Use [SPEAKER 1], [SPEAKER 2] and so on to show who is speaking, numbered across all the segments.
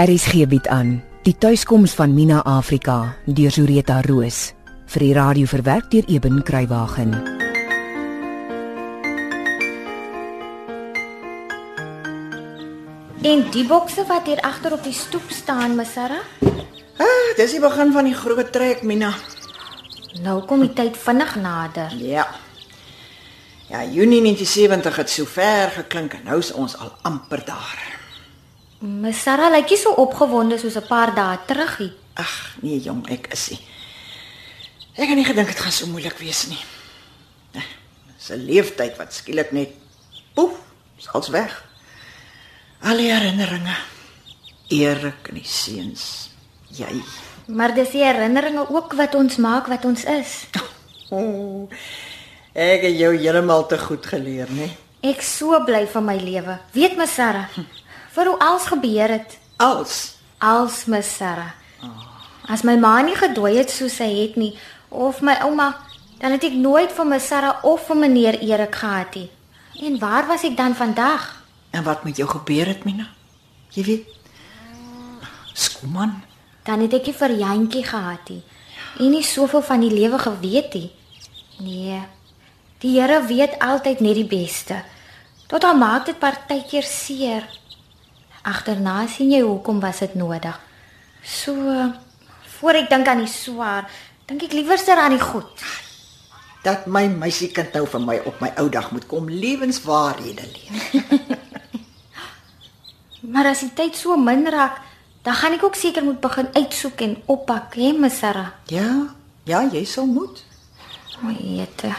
[SPEAKER 1] RSG bied Er aan Die tuiskoms van Mina Afrika deur Zureta Roos vir die radio verwerk deur Eben Kruiwagen.
[SPEAKER 2] En die bokse wat hier agter op die stoep staan, Miss Sarah?
[SPEAKER 3] Ah, dis die begin van die groot trek, Mina.
[SPEAKER 2] Nou kom die tyd vinnig nader.
[SPEAKER 3] Ja. Ja, Junie 1970 het so ver geklink en nou is ons al amper daar.
[SPEAKER 2] Miss Sarah lyk nie so opgewonde soos 'n paar dae terug nie.
[SPEAKER 3] Ag, nee jong, ek is nie. Ek het nie gedink dit gaan so moeilik wees nie. Eh, Dis 'n leeftyd wat skielik net poef, is als weg. Al die herinneringe, Erik en die seuns, jy.
[SPEAKER 2] Maar dis die herinneringe ook wat ons maak wat ons is.
[SPEAKER 3] O, ek het jou heeltemal te goed geleer, nê?
[SPEAKER 2] Ek so bly van my lewe. Weet Miss Sarah, vir hoe alles gebeur het.
[SPEAKER 3] Als
[SPEAKER 2] Als Miss Sarah. As my ma nie gedooi het soos sy het nie of my ouma, dan het ek nooit van Miss Sarah of van meneer Erik gehad nie. En waar was ek dan vandag?
[SPEAKER 3] En wat met jou gebeur het, Mina? Jy weet. Skoman.
[SPEAKER 2] Dan het ek nie vir jantjie gehad nie en nie soveel van die lewe geweet nie. Nee. Die Here weet altyd net die beste. Tot al maak dit partykeer seer. Agterna sien jy hoekom was dit nodig. So voor ek dink aan die swaar, dink ek liewerster aan die goed.
[SPEAKER 3] Dat my meisiekind nou vir my op my ou dag moet kom lewenswaarhede leer.
[SPEAKER 2] Maar as die tyd so min raak, dan gaan ek ook seker moet begin uitsoek en oppak, hè, Missara.
[SPEAKER 3] Ja, ja, jy sal moet.
[SPEAKER 2] O, jete.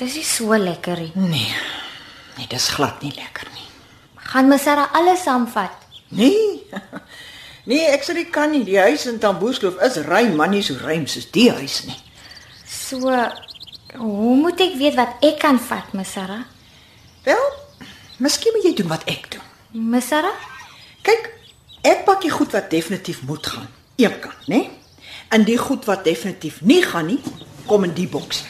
[SPEAKER 2] Dis nie so lekker nie.
[SPEAKER 3] Nee. Nee, dis glad nie lekker nie.
[SPEAKER 2] Gaan Missara alles saamvat.
[SPEAKER 3] Nee. Nee, ek sê dit kan nie. Die huis in Tamboerskloof is ruim, maar nie so ruim soos die huis nie.
[SPEAKER 2] So hoe moet ek weet wat ek kan vat, Missara?
[SPEAKER 3] Wel, miskien moet jy doen wat ek doen.
[SPEAKER 2] Missara?
[SPEAKER 3] Kyk, ek pak die goed wat definitief moet gaan. Een kant, né? En die goed wat definitief nie gaan nie, kom in die bokse.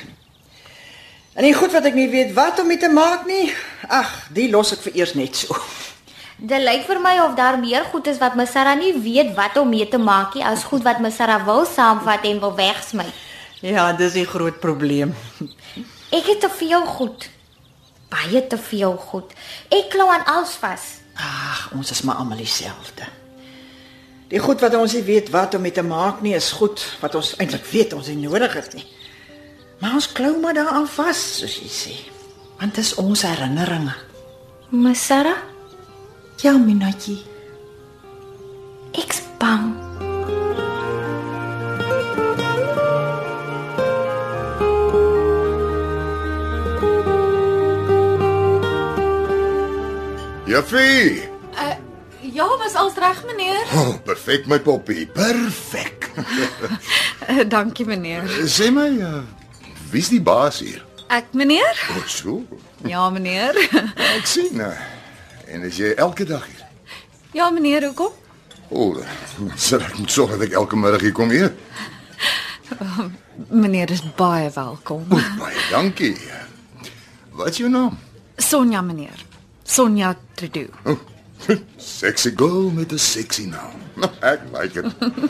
[SPEAKER 3] En die goed wat ek nie weet wat om mee te maak nie, ag, die los ek vir eers net so.
[SPEAKER 2] Dit lyk vir my of daar meer goed is wat Missara nie weet wat om mee te maak nie, as goed wat Missara wil saamvat en wil wegsmy.
[SPEAKER 3] Ja, dis 'n groot probleem.
[SPEAKER 2] Ek het te veel goed. Baie te veel goed. Ek klou aan alles vas.
[SPEAKER 3] Ag, ons is maar almal dieselfde. Die goed wat ons nie weet wat om mee te maak nie, is goed wat ons eintlik weet ons nie nodig het nie. Maar ons klou maar daaraan vas, soos jy sê. Want dis ons herinneringe.
[SPEAKER 2] Missara,
[SPEAKER 3] Ja, Minatjie.
[SPEAKER 2] ek's bang.
[SPEAKER 4] Juffie,
[SPEAKER 5] Ja, was alles reg meneer?
[SPEAKER 4] oh, perfek my poppie, perfek.
[SPEAKER 5] Eh, Dankie meneer.
[SPEAKER 4] Sê my, uh, wie's die baas hier?
[SPEAKER 5] Ek meneer?
[SPEAKER 4] O, oh, so.
[SPEAKER 5] Ja meneer.
[SPEAKER 4] Ek sien. Uh, en is jy elke dag hier?
[SPEAKER 5] Ja meneer, hoekom?
[SPEAKER 4] O, oh, sal ek moet sorg dat ek elke middag hier kom eet.
[SPEAKER 5] Meneer is baie welkom.
[SPEAKER 4] O, Baie dankie. Wat is jou naam?
[SPEAKER 5] Sonja meneer. Sonja Trudeau.
[SPEAKER 4] Oh, sexy girl met 'n sexy naam. Nou, ek like dit.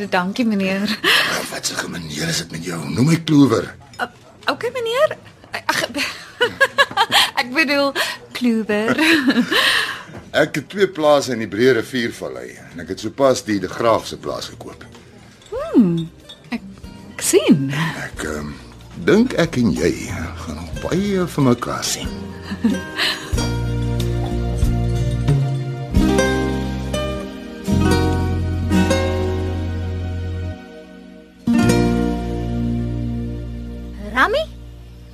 [SPEAKER 5] Eh, Dankie meneer.
[SPEAKER 4] Ah, Wat 'n gemeener is dit met jou? Noem my Clover.
[SPEAKER 5] OK Eh, meneer. Ag, Ek bedoel Kluber.
[SPEAKER 4] Ek het twee plase in die Breë Riviervallei en ek het sopas die De Graaf se plaas gekoop.
[SPEAKER 5] Ek sien.
[SPEAKER 4] Ek ehm dink ek en jy gaan nog baie van mekaar sien.
[SPEAKER 2] Rammy?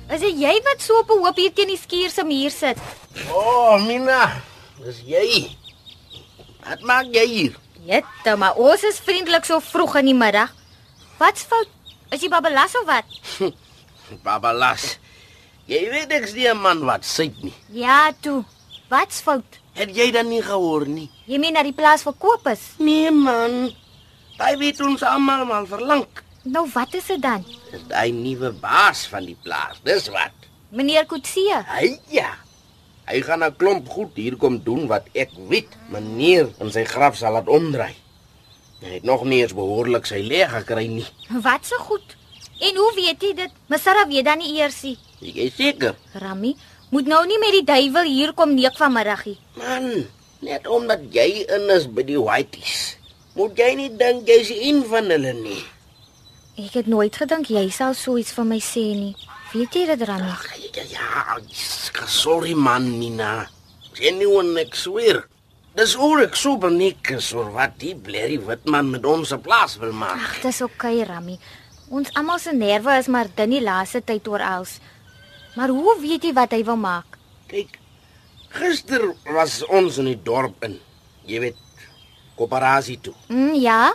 [SPEAKER 2] Is dit jy wat so op 'n hoop hier teen die skuur se muur sit?
[SPEAKER 6] O, oh, Mina, dis jy. Wat maak jy hier?
[SPEAKER 2] Jette, maar ons is vriendelik so vroeg in die middag. Wat's fout? Is jy babbelas of wat?
[SPEAKER 6] Babalas. Jy weet ek's nie 'n man wat syt nie.
[SPEAKER 2] Ja, toe. Wat's fout?
[SPEAKER 6] Het jy dan nie gehoor nie?
[SPEAKER 2] Jy meen dat die plaas verkoop is.
[SPEAKER 6] Nee man. Daai weet ons almal man verlang.
[SPEAKER 2] Nou wat is dit dan?
[SPEAKER 6] Dis daai nuwe baas van die plaas. Dis wat.
[SPEAKER 2] Meneer Kutse.
[SPEAKER 6] Hy ja. Hy gaan 'n klomp goed hier kom doen wat ek weet, meneer in sy graf sal laat omdraai. Hy het nog nie eens behoorlik sy leë gekry nie.
[SPEAKER 2] Wat so goed? En hoe weet jy dit? Masara weet dan nie eers nie.
[SPEAKER 6] Jy is seker?
[SPEAKER 2] Rammy, moet nou nie met die duiwel hier kom neek vanmiddagie.
[SPEAKER 6] Man, net omdat jy in is by die Whiteys, moet jy nie dink jy's een van hulle nie.
[SPEAKER 2] Ek het nooit gedink jy sal so iets van my sê nie. Weet jy dit, Rammy?
[SPEAKER 6] Ag ja, ja, ja, sorry man, Nina. Genuine ek sweer. Dis oor ek so beniek is oor wat die blerrie wit man met ons se plaas wil maak.
[SPEAKER 2] Ag, dis oukei, okay, Rammy. Ons almal se nerve is maar dun die laaste tyd oor Els. Maar hoe weet jy wat hy wil maak?
[SPEAKER 6] Kyk, gister was ons in die dorp in. Jy weet, koöperasie toe.
[SPEAKER 2] Mm, ja,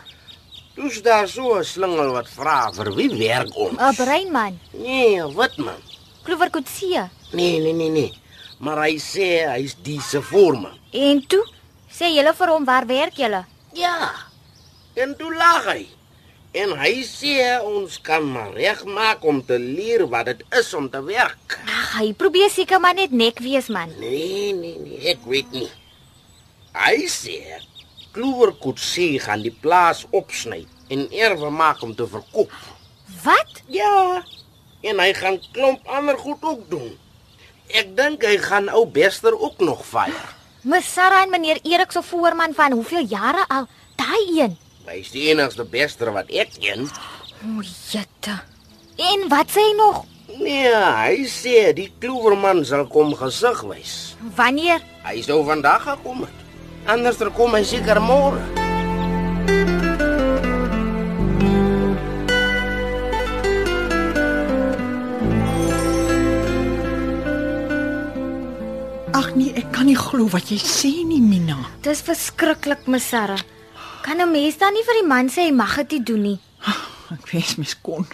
[SPEAKER 6] Toe's daar so 'n slingel wat vra vir wie werk ons?
[SPEAKER 2] 'n breinman,
[SPEAKER 6] Nee, wit man.
[SPEAKER 2] Kloverkutse.
[SPEAKER 6] Nee, nee, nee, nee. Maar hy sê hy's die se voorman.
[SPEAKER 2] En toe sê julle vir hom waar werk julle?
[SPEAKER 6] Ja. En toe lag hy. En hy sê ons kan maar regmaak om te leer wat dit is om te werk.
[SPEAKER 2] Ag, hy probeer seker maar net nek wees man.
[SPEAKER 6] Nee, nee, nee, ek weet nie. Hy sê Kloerkutsie gaan die plaas opsny en erwe maak om te verkoop.
[SPEAKER 2] Wat?
[SPEAKER 6] Ja. En hy gaan klomp ander goed ook doen. Ek dink hy gaan ou Bester ook nog fire.
[SPEAKER 2] Ms Sarah en meneer Erik se voorman van hoeveel jare al? Daai een.
[SPEAKER 6] Hy's die enigste Bester wat ek ken.
[SPEAKER 2] O, jette. En wat sê hy nog?
[SPEAKER 6] Nee, hy sê die kloewerman sal kom gesig wys.
[SPEAKER 2] Wanneer?
[SPEAKER 6] Hy sou vandag gekom het. Anders kom hy seker môre.
[SPEAKER 3] Ag nee, ek kan nie glo wat jy sê nie, Mina.
[SPEAKER 2] Dis verskriklik, Ms Sarah. Kan 'n mens dan nie vir die man sê hy mag dit nie doen nie?
[SPEAKER 3] Ek wens mens kon.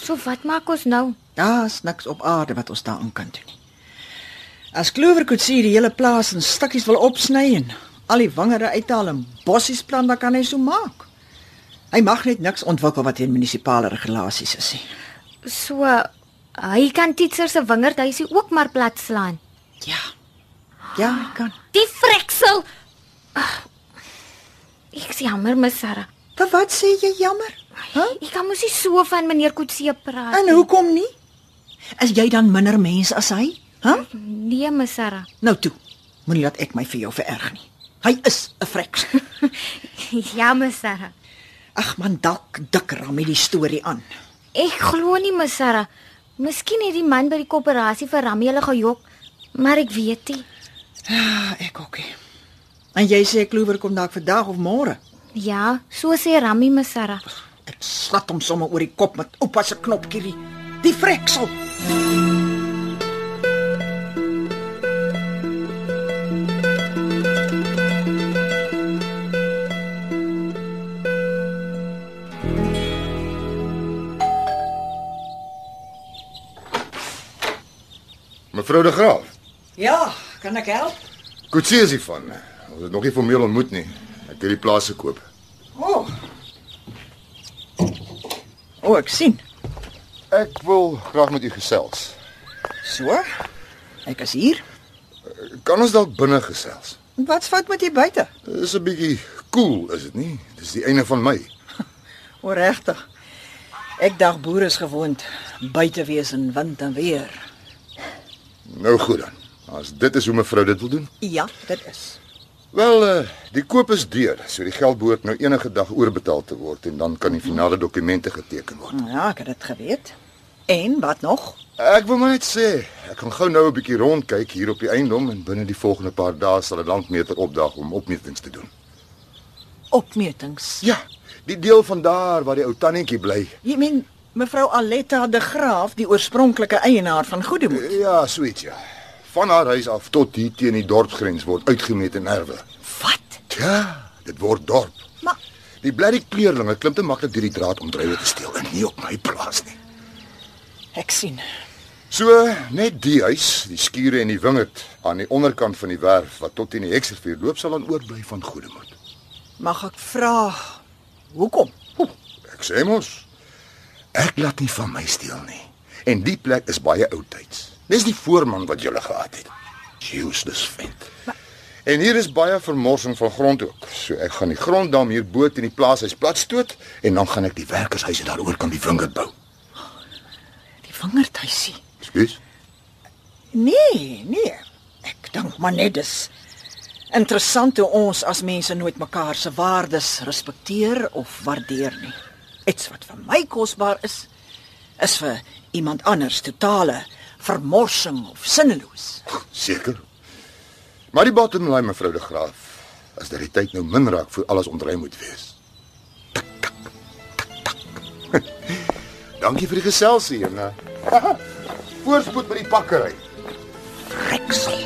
[SPEAKER 2] So wat maak ons nou?
[SPEAKER 3] Daar's niks op aarde wat ons daaraan kan doen nie. As Kloverkoet sê die hele plaas in stukkies wil opsny en al die wingerde uithaal en bossies plant, dan kan hy so maak. Hy mag net niks ontwikkel wat teen munisipale regulasies is nie.
[SPEAKER 2] So hy kan Titser se wingerdhuisie ook maar plat slaan.
[SPEAKER 3] Ja. Ja, hy kan.
[SPEAKER 2] Die freksel. Ag, Ek is jammer, Ms Sarah.
[SPEAKER 3] Maar wat sê jy jammer? Hæ?
[SPEAKER 2] Ek kan mos nie so van meneer Kutse praat.
[SPEAKER 3] En hoekom nie? Is jy dan minder mens as hy? Hæ?
[SPEAKER 2] Nee, Ms Sarah.
[SPEAKER 3] Nou toe. Moenie laat ek my vir jou vererg nie. Hy is 'n freks.
[SPEAKER 2] ja, Ms Sarah.
[SPEAKER 3] Ag man, dalk dik ram hierdie storie aan.
[SPEAKER 2] Ek glo nie, Ms Sarah. Miskien het die man by die koöperasie vir Ramie hulle gejok, maar ek weet nie.
[SPEAKER 3] Ja, ek ook. nie. En jy sê Kloewer kom dalk vandag of môre.
[SPEAKER 2] Ja, so sê Ramie, Ms Sarah.
[SPEAKER 3] Ek slat hom sommer oor die kop met oupa se knopkie die, die freksel.
[SPEAKER 4] Mevrou de Graaf.
[SPEAKER 3] Ja, kan ek help?
[SPEAKER 4] Kutsie is hiervan. Ons het nog nie formeel ontmoet nie. Ek het die plaas gekoop.
[SPEAKER 3] O. Oh. O, oh, ek sien.
[SPEAKER 4] Ek wil graag met u gesels.
[SPEAKER 3] So. Ek is hier.
[SPEAKER 4] Kan ons dalk binne gesels?
[SPEAKER 3] Wat's fout met jy buite?
[SPEAKER 4] Dis 'n bietjie koel, cool, is dit nie? Dis die einde van my.
[SPEAKER 3] O, regtig. Ek dag boere is gewoond buite wees in wind en weer.
[SPEAKER 4] Nou goed dan. As dit is hoe mevrou dit wil doen.
[SPEAKER 3] Ja, dit is.
[SPEAKER 4] Wel, eh, die koop is deur, so die geld behoort nou enige dag oorbetaal te word en dan kan die finale dokumente geteken word.
[SPEAKER 3] Ja, ek het dit geweet. En wat nog?
[SPEAKER 4] Ek wil maar net sê, ek gaan gou nou 'n bietjie rondkyk hier op die eiendom en binne die volgende paar dae sal 'n landmeter opdaag om opmetings te doen.
[SPEAKER 3] Opmetings.
[SPEAKER 4] Ja, die deel van daar waar die ou tannetjie bly.
[SPEAKER 3] Jy meen mevrou Aletta de Graaf, die oorspronklike eienaar van Goedemoed.
[SPEAKER 4] Ja, sweet ja. Van haar huis af tot hier teen die dorpsgrens word uitgemeet en erwe.
[SPEAKER 3] Wat?
[SPEAKER 4] Ja, dit word dorp.
[SPEAKER 3] Maar
[SPEAKER 4] Die blerrie kleerlinge klim te maklik deur die draad om drywe te steel en nie op my plaas nie.
[SPEAKER 3] ek sien.
[SPEAKER 4] So net die huis, die skure en die wingerd aan die onderkant van die werf wat tot in die heksrivier loop sal dan oorbly van Goedemoed.
[SPEAKER 3] Mag ek vra hoekom?
[SPEAKER 4] Ek sê mos, ek laat nie van my steel nie. En die plek is baie oudtyds. Dis die voorman wat julle gehad het. Jesus, dis vet. En hier is baie vermorsing van grond ook. So ek gaan die gronddam hier bo teen die plaashuis platstoot en dan gaan ek die werkershuise daaroor kan die wingerd bou.
[SPEAKER 3] Die vingertuisie.
[SPEAKER 4] Skus.
[SPEAKER 3] Nee, nee. Ek dink maar net dis interessant hoe ons as mense nooit mekaar se waardes respekteer of waardeer nie. Iets wat vir my kosbaar is, is vir iemand anders totale vermorsing of sinneloos.
[SPEAKER 4] Seker. Maar die bottom line mevrou de Graaf, as dat die tyd nou min raak vir alles ontruim moet wees. Tak, tak, tak, tak. Dankie vir die geselsie en uh, voorspoed met die pakkery.
[SPEAKER 3] Reksel.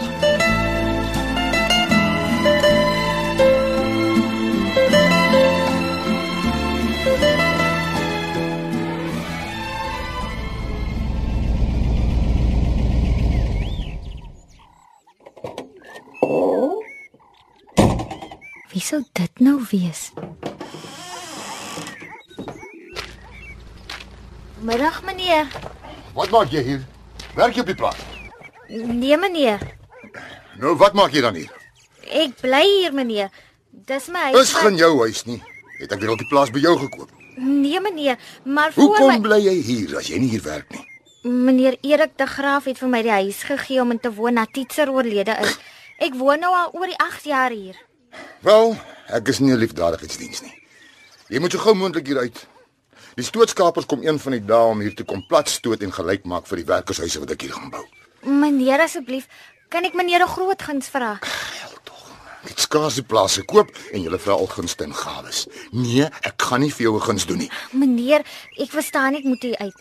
[SPEAKER 2] Wie sou dit nou wees? Middag meneer.
[SPEAKER 4] Wat maak jy hier? Werk jy op die plaas?
[SPEAKER 2] Nee meneer.
[SPEAKER 4] Nou wat maak jy dan hier?
[SPEAKER 2] Ek bly hier meneer. Dis my huis.
[SPEAKER 4] Is geen jou huis nie. Het ek weer op die plaas by jou gekoop.
[SPEAKER 2] Nee meneer, maar voor
[SPEAKER 4] Hoekom
[SPEAKER 2] my
[SPEAKER 4] bly jy hier as jy nie hier werk nie?
[SPEAKER 2] meneer Erik de Graaf het vir my die huis gegee om in te woon nadat Titser oorlede is. Ek woon nou al oor die 8 jaar hier.
[SPEAKER 4] Wel, ek is nie 'n liefdadigheidsdiens nie. Jy moet so gou moontlik hier uit. Die stootskapers kom een van die dae om hier te kom plat stoot en gelyk maak vir die werkershuise wat ek hier gaan bou.
[SPEAKER 2] Meneer asseblief, kan ek meneer 'n groot guns vra?
[SPEAKER 4] Ek het skaars die plaas gekoop en julle vra al gunste en gawes. Nee, ek gaan nie vir jou 'n guns doen nie.
[SPEAKER 2] Meneer, ek verstaan ek moet u uit.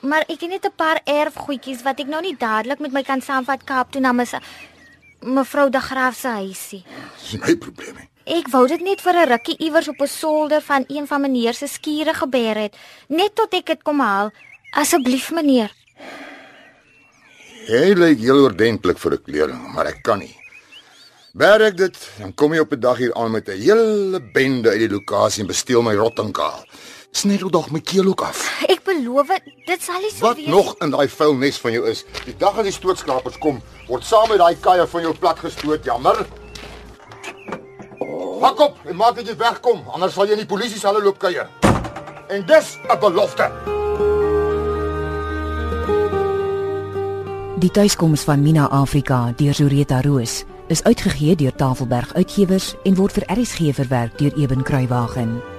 [SPEAKER 2] Maar ek het net 'n paar erfgoedjies wat ek nou nie dadelik met my kan saamvat Kaap toe na mes mevrou de Graaf se huisie.
[SPEAKER 4] Dis nie my probleem nie.
[SPEAKER 2] Ek wou dit net vir 'n rukkie iewers op 'n solder van een van meneer se skure geber het, net tot ek dit kom haal. Asseblief meneer.
[SPEAKER 4] Jy lyk heel ordentlik vir 'n kleerling, maar ek kan nie. Berg ek dit, dan kom jy op 'n dag hier aan met 'n hele bende uit die lokasie en besteel my rottenkaal. Sny dag my keel ook af.
[SPEAKER 2] Ek beloof dit sal nie so
[SPEAKER 4] Wat
[SPEAKER 2] wees.
[SPEAKER 4] nog in daai vuilnis van jou is. Die dag as die stootskapers kom, word saam met daai kaja van jou plat gestoot, jammer. Pak op en maak dat jy wegkom, anders sal jy in die polisie se hulle loop kuier. En dis 'n belofte.
[SPEAKER 1] Die tuiskoms van Mina Afrika deur Zureta Roos is uitgegee deur Tafelberg Uitgewers en word vir RSG verwerk deur Eben Kruiwagen.